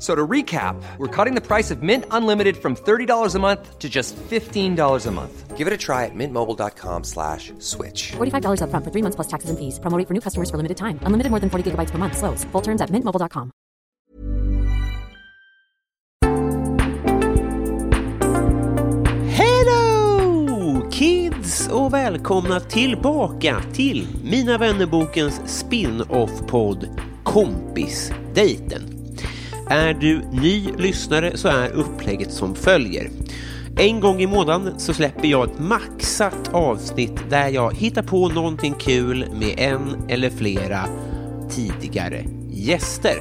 So to recap, we're cutting the price of Mint Unlimited from $30 a month to just $15 a month. Give it a try at mintmobile.com slash switch. $45 upfront for three months plus taxes and fees. Promo rate for new customers for limited time. Unlimited more than 40 gigabytes per month. Slows. Full terms at mintmobile.com. Hello kids och välkomna tillbaka till Mina vännerbokens spin-off-podd Kompisdejten. Är du ny lyssnare så är upplägget som följer. En gång i månaden så släpper jag ett maxat avsnitt där jag hittar på någonting kul med en eller flera tidigare gäster.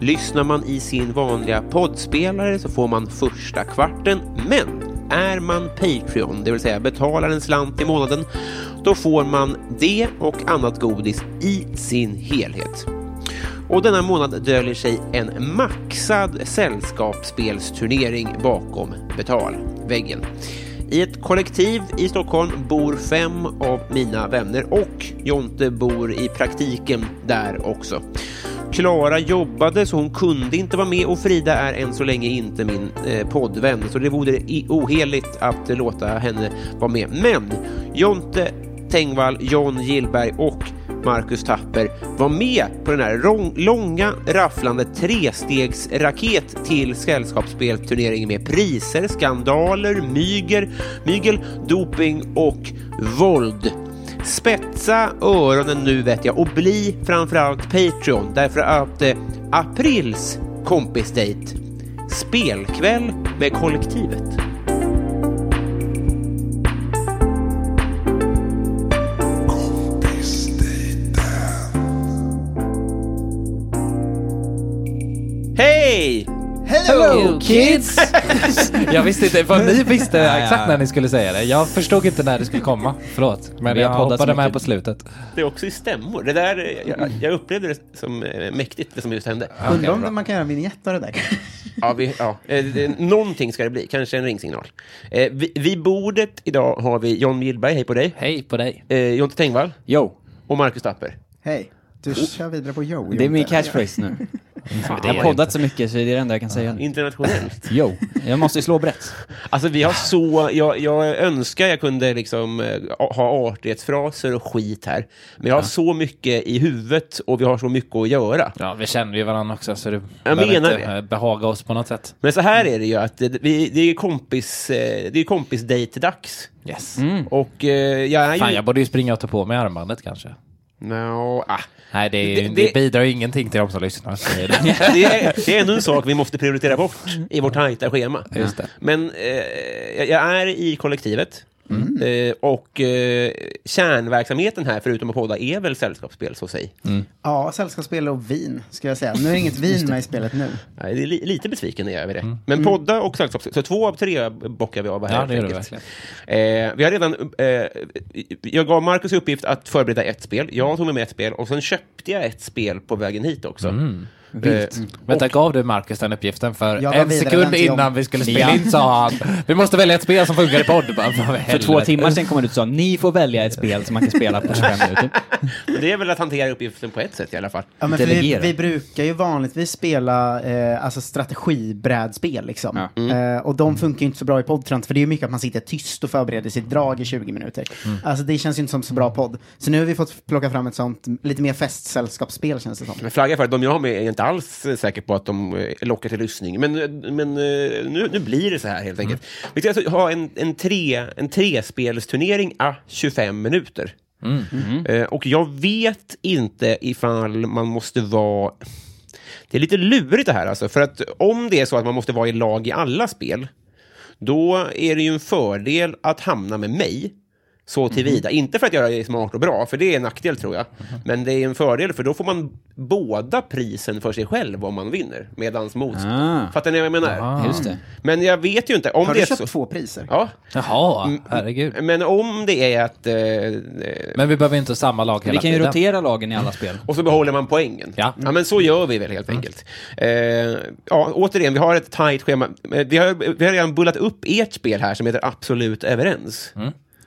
Lyssnar man i sin vanliga poddspelare så får man första kvarten, men är man Patreon, det vill säga betalar en slant i månaden, då får man det och annat godis i sin helhet. Och denna månad döljer sig en maxad sällskapsspelsturnering bakom betalväggen. I ett kollektiv i Stockholm bor fem av mina vänner och Jonte bor i praktiken där också. Klara jobbade så hon kunde inte vara med och Frida är än så länge inte min eh, poddvän så det vore i- oheligt att eh, låta henne vara med. Men Jonte Tengvall, John Gillberg och Marcus Tapper var med på den här rång- långa rafflande trestegsraket till sällskapsspelturneringen med priser, skandaler, myger, mygel, doping och våld. Spetsa öronen nu vet jag och bli framförallt Patreon därför att eh, aprils kompisdejt spelkväll med kollektivet. Hej! Hello Oh, kids! jag visste inte, för ni visste exakt när ni skulle säga det. Jag förstod inte när det skulle komma. Förlåt. Men Vi har jag poddat så hoppade med mycket. på slutet. Det är också i stämmor. Det där, eh, jag, jag upplevde det som eh, mäktigt, det som just hände. Undrar om man kan göra en vignett av det där. Ja, vi, ja. Eh, det- Någonting ska det bli, kanske en ringsignal. Eh, vi, vid bordet idag har vi John Gillberg, hej på dig. Hej på dig. Eh, Jonte Tengvall Yo, och Marcus Tapper. Hej, du kör vidare på Joe. det är min catchphrase nu. Jag har poddat så mycket så det är det enda jag kan säga nu. Internationellt. Yo, jag måste ju slå brett. Alltså vi har så, jag, jag önskar jag kunde liksom eh, ha artighetsfraser och skit här. Men jag har så mycket i huvudet och vi har så mycket att göra. Ja, vi känner ju varandra också så du Jag behöver menar inte det. eh, behaga oss på något sätt. Men så här är det ju att det, vi, det är kompis, eh, det är kompisdejt-dags. Yes. Mm. Och eh, jag är ju... Fan, jag borde ju springa och ta på mig armbandet kanske. Nå, ah. Nej, det, är ju- Det- det, det- bidrar ju ingenting till de som lyssnar. så är det- det, är, det är ännu en sak vi måste prioritera bort i vårt tajta schema. Just det. Men eh, jag- jag är i kollektivet. Mm. Eh, och eh, kärnverksamheten här, förutom att podda, är väl sällskapsspel, så säg. Mm. Ja, sällskapsspel och vin, ska jag säga. Nu är det inget vin med i spelet nu. Nej, det är li- lite besviken är jag över det. Men podda och sällskapsspel, så två av tre bockar vi av här. Mm. Ja, det gör helt du enkelt. Eh, vi har redan... Eh, jag gav Markus i uppgift att förbereda ett spel. Jag tog med mig ett spel och sen köpte jag ett spel på vägen hit också. Mm. Eh, Vänta, gav du Marcus den uppgiften? För Jag gav en vidare den sekund till innan John. vi skulle spela Ja. in sa han vi måste välja ett spel som funkar i podd. Bara, För två timmar sedan kom han ut och sa ni får välja ett spel som man kan spela på 25 minuter. det är väl att hantera uppgiften på ett sätt i alla fall. Ja, men för vi, Delegera. vi brukar ju vanligtvis spela eh, alltså strategibrädspel. Liksom. Ja. Mm. Eh, och de funkar ju inte så bra i poddtrans, för det är ju mycket att man sitter tyst och förbereder sitt drag i 20 minuter. Alltså det känns ju inte som så bra podd. Så nu har vi fått plocka fram ett sånt lite mer festsällskapsspel känns det som. Men flagga för att de jag har med är jag inte alls eh, säker på att de eh, lockar till lyssning. Men, men eh, nu, nu blir det så här helt enkelt. Vi ska alltså ha en, en, tre, en trespelsturnering a 25 minuter. Eh, Och jag vet inte ifall man måste vara... Det är lite lurigt det här alltså, för att om det är så att man måste vara i lag i alla spel, då är det ju en fördel att hamna med mig. Så tillvida. Inte för att göra det smart och bra, för det är en nackdel tror jag. Men det är en fördel, för då får man båda prisen för sig själv om man vinner. Medans motstånd. Ah. Fattar ni vad jag menar? Just det. Men jag vet ju inte. Om Har det du är köpt så... två priser? Ja, Mm. Jaha, herregud. men om det är att... Eh, eh, Men vi behöver inte samma lag hela Vi kan ju tiden. rotera lagen i alla spel. och så behåller man poängen. Ja. men så gör vi väl helt enkelt. Eh, ja, återigen, vi har ett tajt schema. Eh, Vi har, vi har redan bullat upp ert spel här som heter Absolut Överens.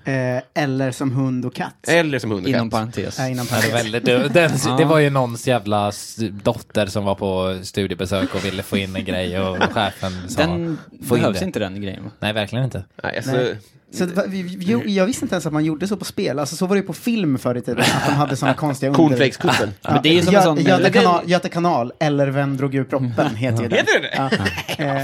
Eh, eller som hund och katt? Eller som hund och Inom katt. parentes. Nej, innan Ja, det, är väldigt, det, det, det var ju någons jävla s- dotter som var på studiebesök och ville få in en grej och chefen sa Den få in behövs det. inte den grejen va? Nej, verkligen inte. Nej, alltså, Nej. Så det var- vi- vi- jo, jag visste inte ens att man gjorde så på spel. Alltså, så var det ju på film förr i tiden, att de hade sådana konstiga under... Cornflakes-kuppen. Ja, Men det Mm. är ju som en Gö- sån- Göta, Men den- kanal, Göta kanal, eller Vem drog ur proppen, heter ju den. Heter det det? Ja. Eh,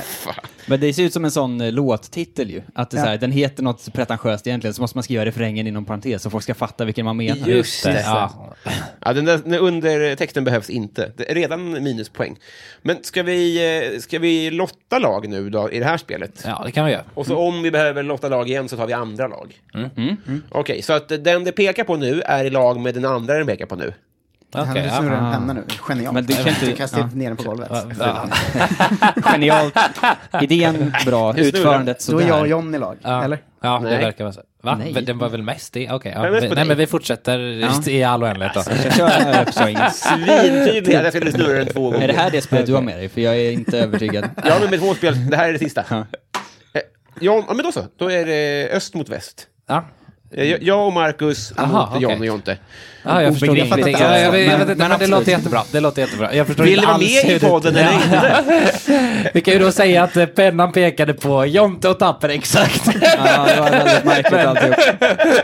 Men det ser ut som en sån eh, låttitel ju. Att det är Ja. så här, den heter något pretentiöst egentligen, så måste man skriva refrängen inom parentes så folk ska fatta vilken man menar. Just det. Ja. Ja, den där den där undertexten behövs inte. Det är redan minuspoäng. Men ska vi, eh, ska vi lotta lag nu då, i det här spelet? ja, det kan vi göra. Och så om vi behöver lotta lag igen så tar vi andra lag. Okej, så att den det pekar på nu är i lag med den andra den pekar på nu. Okej, han snurrar en penna nu, genialt. Men du kan inte- Du kastar ja. ner den på golvet. ja. Genialt. Idén bra, Just nu då. utförandet Då är sådär. jag och John i lag, Ja. eller? Ja, Nej. det verkar vara så. Va? Nej. Men Den var väl mest i? Okej. Den är ja. mest på vi- Nej, dig. men vi fortsätter i all oändlighet då. Jag kör den här uppsvängen. Svintydligt! Jag skulle snurra den två gånger. Är det här det spelet du har med dig? För jag är inte övertygad. Ja, men med två spel. Det här är det sista. Eh, Ja, ja, men då så. Då är det öst mot väst. Ja. Eh, jag- Jag och Marcus Aha, mot John okej. och Jonte. Ja, Ah, jag förstod Obegripligt. ingenting. Ja, jag, vet- jag, vet Men- inte, men, men det absolut. låter jättebra. Det låter jättebra. Jag förstår Vill du inte vara alls med i hur det- podden eller inte? Vi kan ju då säga att eh, pennan pekade på Jonte och Tapper exakt. Ja, det var väldigt märkligt alltihop.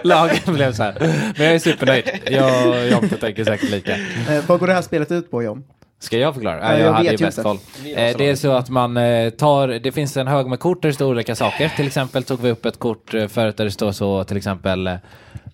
Lagen blev så här. Men jag är supernöjd. Jag och Jonte tänker säkert lika. Eh, vad går det här spelet ut på, John? Ska jag förklara? Ja, jag, jag hade vet ju ju bäst inte. koll. Eh, det är så att man eh, tar, det finns en hög med kort där det står olika saker. Till exempel tog vi upp ett kort eh, förut där det står så till exempel eh,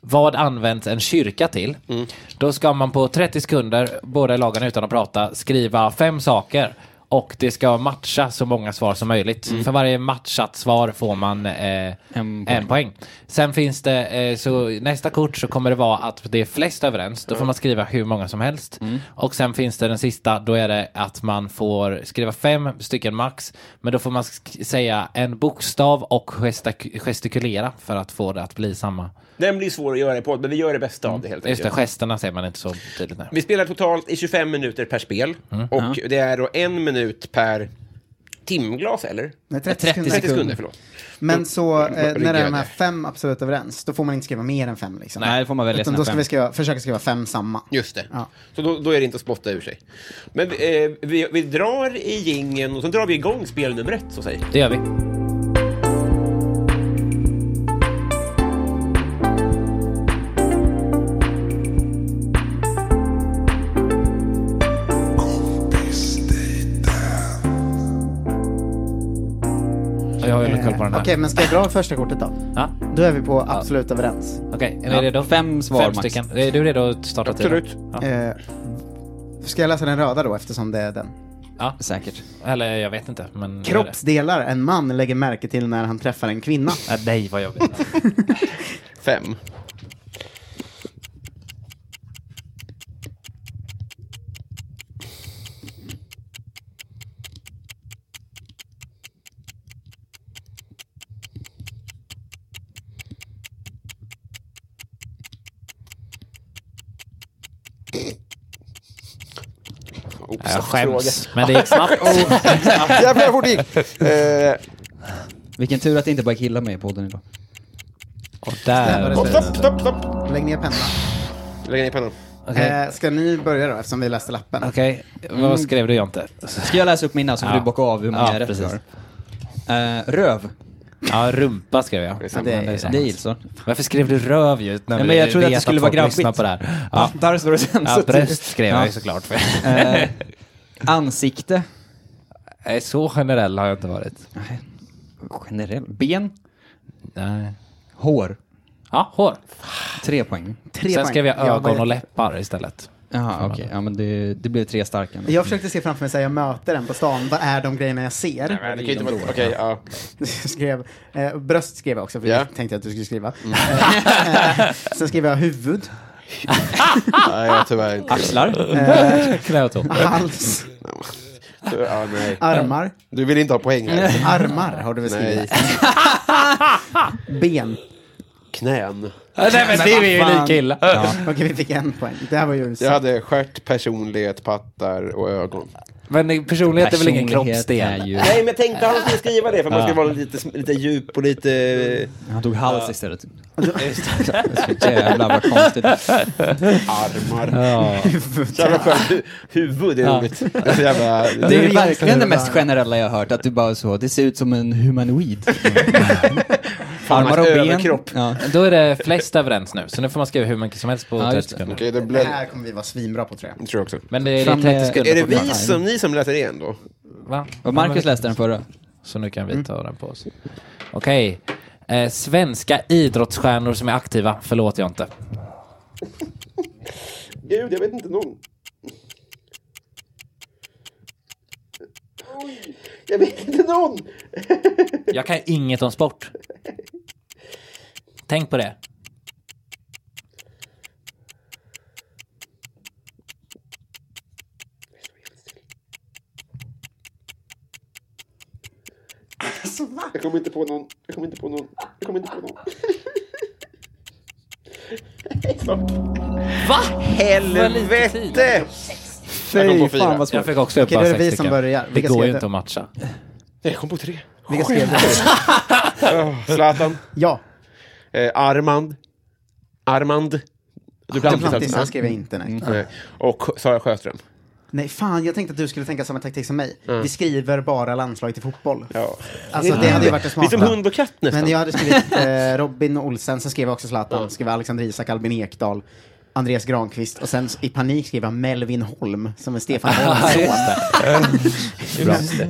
vad används en kyrka till? Mm. Då ska man på 30 sekunder, båda lagarna utan att prata, skriva fem saker. Och det ska matcha så många svar som möjligt. Mm. För varje matchat svar får man eh, En en, poäng. poäng. Sen finns det, eh, så nästa kort så kommer det vara att det är flest överens. Då får man skriva hur många som helst. Och sen finns det den sista, då är det att man får skriva fem stycken max. Men då får man sk- säga en bokstav och gestak- gestikulera för att få det att bli samma. Den blir svår att göra i podd, men vi gör det bästa Mm. av det helt Just enkelt. det, gesterna säger man inte så tydligt. Nej. Vi spelar totalt i 25 minuter per spel. Mm. Och det är då en minut per timglas, eller? Nej, 30 30, sekunder. sekunder. 30 sekunder, förlåt. Mm. Men så, eh, när det är Ryggrad. de här fem absolut överens, då får man inte skriva mer än fem liksom. Nej, då får man välja Utan sina då ska fem. vi skriva, försöka skriva fem samma. Just det. Ja. Så då, då är det inte att spotta ur sig. Men eh, vi, vi drar i gingen och sen drar vi igång spel nummer ett, så säg. Det gör vi. Jag har ju lite koll på den Okej, här. men ska jag dra första kortet då? Ja, Då är vi på absolut överens. Okej, är ni Ja, redo? fem svar Fem max. stycken. Är du redo att starta tiden? Absolut. Ja. Eh, ska jag läsa den röda då, eftersom det är den? Säkert. Eller jag vet inte. Men Kroppsdelar en man lägger märke till när han träffar en kvinna. Äh, nej, vad jobbigt. Fem. Oops, Jag skäms. Men det gick snabbt. Jävlar vad fort det gick! Eh, Vilken tur att det inte bara är killar med i podden idag. Och där. Stopp, Stopp, stopp, stopp! Lägg ner pennan. Lägg ner pennan. Okej. Eh, ska ni börja då, eftersom vi läste lappen? Okej, vad skrev du Jonte? Ska jag läsa upp mina så får Ja. du bocka av hur många Ja, rätt du precis. har? Eh, röv. Ja, rumpa skrev jag. Ja, det, det är sant. Det gills va? Varför skrev du röv ju? När Ja, vi men jag trodde att vet det skulle vara folk grabbigt. lyssnar På det här. Ja. Pattar står det sen. Ja, så- bröst skrev jag Ja. ju såklart. För. Eh, ansikte. Nej, så generell har jag inte varit. Generell. Ben. Nej. Hår. Ja, hår. Tre poäng. Tre Sen poäng. skrev jag var ögon jätte- och läppar istället. Jaha, okej. Ja, men det, det blev tre starka. nu. Jag försökte se framför mig att jag möter en på stan, vad är de grejerna jag Nej, ser? det kan ju inte vara... Okej, ja. skrev, eh, bröst skrev jag också, för Ja. jag tänkte att du skulle skriva. Eh, eh, sen skrev jag huvud, Nej, jag har tyvärr inte... Axlar? Eh, Knä och tå. hals, Ah. Ja, nej. armar. Du vill inte ha poäng här. Armar har du väl Nej. skrivit? Ben. Knän. Nej men det är ju fan. lika illa. Okej, vi fick en poäng. Det här var ju... Jag hade stjärt, personlighet, pattar och ögon. Men personlighet är väl ingen Personlighet kroppsdel? är ju- Nej, men jag tänkte att han skulle skriva det för man skulle vara lite, lite djup och lite... eh, Han tog hals istället. Jävlar vad konstigt. Armar. Ja. Så jävla skönt. Hu- Huvud är roligt. Det är så jävla... Det är ju Hur gör verkligen du det mest bara? generella jag har hört, att du bara så, det ser ut som en humanoid. Armar och ben. överkropp. Ja. Då är det flest överens nu, så nu får man skriva hur mycket som helst på Ja, 30 just det. sekunder. Okej, det Det blev... här kommer vi vara svinbra på tror jag. Det tror jag också. Men det är Fram det 30 med- sekunder Är det på vi klockan. som, ni som läser igen då? Va? Och Marcus läste den förra. Så nu kan vi ta den på oss. Okej. Eh, svenska idrottsstjärnor som är aktiva. Förlåt jag inte. Gud, jag vet inte någon. Jag vet inte någon! Jag kan inget om sport. Tänk på det. Jag kommer inte på någon. Jag kommer inte på någon. Jag kommer inte på någon. Va? Helvete! kom på Fy fyra. fan vad Jag svårt. fick också upp Okej, bara då är det vi sex som stycken. börjar. Det Vilka går ska ju jag- inte att matcha. Jag kom på tre. Vilka skrev du? Åh, Zlatan. Ja, Eh, Armand. Armand. Duplantis Duplantis, han alltså. skrev jag inte. Nej. Nej. Eh, Och Sara Sjöström. nej, fan, jag tänkte att du skulle tänka samma taktik som mig. Vi skriver bara landslaget i fotboll. Mm. Ja. Alltså det hade ju varit det Det är som smarta. hund och katt nästan. Men jag hade skrivit eh, Robin Olsen, sen skrev jag också Zlatan, skrev Alexander Isak, Albin Ekdal, Andreas Granqvist och sen i panik skrev jag Melvin Holm som är Stefan Holms son.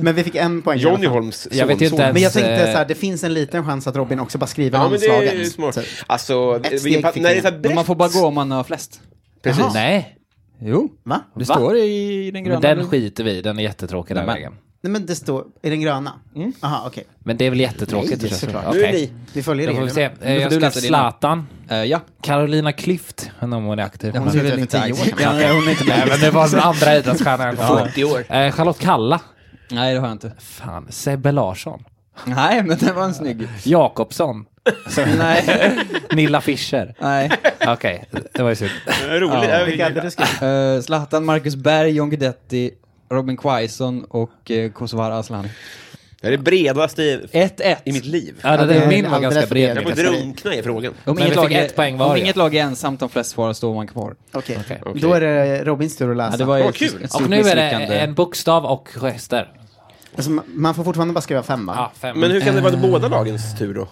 Men vi fick en poäng. i alla Johnny fall. Holms son. Jag vet ju inte son. ens- Men jag tänkte Eh, så här, det finns en liten chans att Robin också bara skriver Ja, men det landslagen. är ju smart. Så- Alltså, vi- steg när fick det är jag. så här Men brett. man får bara gå om man har flest. Jaha. Nej, Jo. Va? Det Va? står i den gröna. men den skiter vi i. Den är jättetråkig den Nej, men- vägen. Nej men det står, är den gröna? Aha, okej. Men det är väl jättetråkigt. Nej, att köra så. såklart. Okej. Nu är ni. Vi följer Då får vi se. reglerna. Eh, får Jag du skrev läsa dina. Zlatan. Eh, ja. Carolina Klüft, jag undrar om hon är aktiv. Hon Men- slutade för tio år sedan. Ja, nej, hon är inte Nej, med. men det var den andra idrottsstjärnan. Ja. 40 år. Eh, Charlotte Kalla. Nej, det har jag inte. Fan, Sebbe Larsson. Nej, men det var en snygg. Jakobsson. Nej. Nilla Fischer. Nej. Okej, det var ju synd. Roligt. Jag Vilka vet hade inte. du skrivit? Eh, Zlatan, Marcus Berg, John Guidetti, Robin Quaison och uh, Kosovar Asllani. Det är det bredaste i- 1-1. i mitt liv. Ja, det, det är det, min var alldeles ganska för bred. Jag får drunkna i frågan. Om Men vi inget, fick lag är, ett poäng var e- om ju. inget lag är ensamt om flest svar står man kvar. Okej. Okej. Då är det Robins tur att läsa. Ja, det var ju Åh, ett- kul. ett stort Och nu är det misslyckande. en bokstav och gester. alltså, ma- man får fortfarande bara skriva fem va? Ja, fem. Men hur kan det vara båda lagens tur då?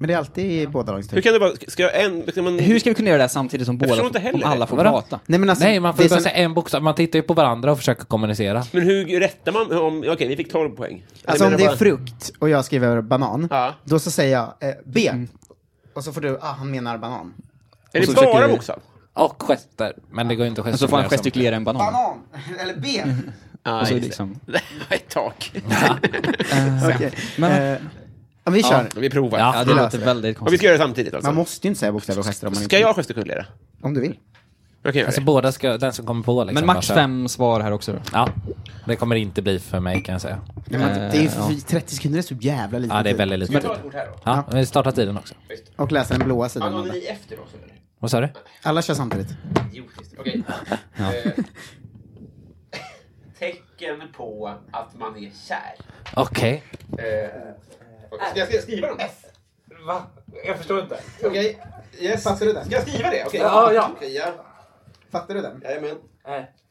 Men det är alltid båda lagens Hur tur. kan det vara... Ska jag en... Ska man... Hur ska vi kunna göra det här samtidigt som båda förstår inte får, heller om det. alla får Vadå? prata? Nej men alltså, Nej, man får det är ju bara som- säga en bokstav. Man tittar ju på varandra och försöker kommunicera. Men hur rättar man om... Okej, ni fick 12 poäng. Eller Alltså om menar det är bara- frukt och jag skriver banan, Ja. då så säger jag eh, B. Mm. Och så får du, ah han menar banan. Är det Och så bara försöker- bokstav? Och gester. Men det går ju inte att Och så får gestikulera. han gestikulera en banan. Banan! Eller B! Nej, Och just så det. liksom. ett tak. Okej. Men, Eh, ja, vi kör. Vi provar. Ja. ja, det löser låter det. väldigt Och vi konstigt. ska göra det samtidigt Man alltså. måste ju inte säga bokstäver och gester om man inte Ska jag gestikulera? Om du vill. Jag kan göra Alltså det. båda ska, den som kommer på liksom. Men max bara så- fem svar här också då. Ja, det kommer det inte bli för mig kan jag säga. Ja, men det är ju f- 30 sekunder, är så jävla lite Eh, Ja, det är tid. väldigt lite. Ta ett kort här då. Ja, vi startar tiden också. Och läsa den blåa sidan. Använder av det. ni efter också? eller? Vad sa du? Alla kör samtidigt. Idiotiskt. Okej. Eh, Tecken på att man är kär. Eh, Okej. Ska jag skriva dem? S. Va? Jag förstår inte. Okej. Yes. Ska Fattar du den? jag skriva det? Okej. Ja, ja. Okej, ja. Fattar du den? Jajamän.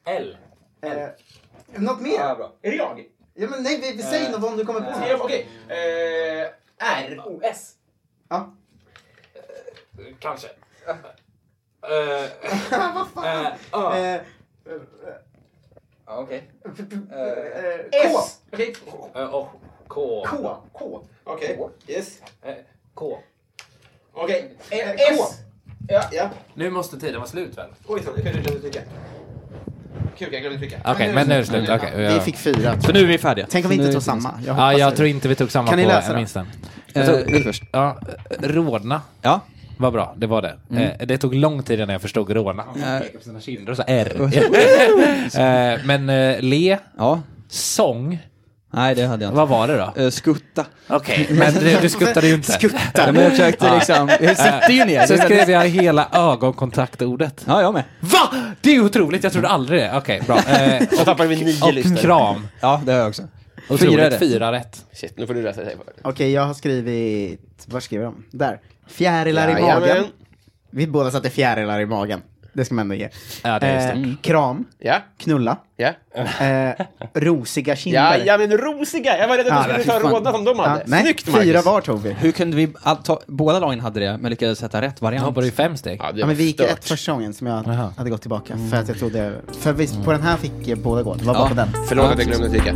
L. Eh, något mer? Ja, Är det jag? men nej, vi, vi säger något om du kommer på. Ja, Okej. Eh, R. O. S. Ja. Kanske. Eh, Vad fan? Eh, Okej. eh, K. S. Okej. eh, Och K. K. K. Okej. Yes. K. Okej. Eh, K. S. Ja, ja. Nu måste tiden vara slut väl? Oj, så, jag glömde trycka. Kuk, jag glömde trycka. Okej, men nu är det slut. Okej, Vi ja. fick fyra. Så nu är vi färdiga. Tänk om vi inte Nu- tog samma. Jag Ja, hoppas jag det. tror inte vi tog samma Kan ni på läsa jag då? minns den. Eh, Vill först. Ja, eh, rodna Ja. var bra, det var det. Mm. Eh, det tog lång tid innan jag förstod rodna. Han pekade på sina kinder och så R. eh, men eh, le, Ja. sång, Nej, det hade jag inte. vad var det då? Eh, Skutta. Okej, men du, du skuttade ju inte. Ja, men jag försökte liksom, jag sitter ju ner. Sen skrev jag hela ögonkontaktordet. Ja, jag med. Va? Det är otroligt, jag trodde aldrig det. Okej, bra. Eh, Så tappade vi nio och listor. kram. Ja, det har jag också. Fyra Otroligt, rätt. fyra rätt. Shit, nu får du läsa. Okej, jag har skrivit, vad skriver de? Där. Fjärilar i Jajamän. magen. Vi båda satte fjärilar i magen. Det ska man ändå ge. Ja, det är Mm. Eh, kram, Ja, knulla, ja. eh, rosiga Ja, kinder. ja, men rosiga! Jag var rädd att du Ja, skulle fy ta fan. rådna som de Ja, hade. nej, Snyggt, Marcus! fyra var tog vi. Hur kunde vi, all, ta, båda lagen hade det, men lyckades sätta rätt Jag variant. hoppade ju fem steg. Ja, det Ja, men vi gick stört. ett första gången som jag Jaha. hade gått tillbaka. För att jag trodde, för visst, på den här fick jag båda gå. Det var bara Ja. på den. Förlåt att jag glömde trycka.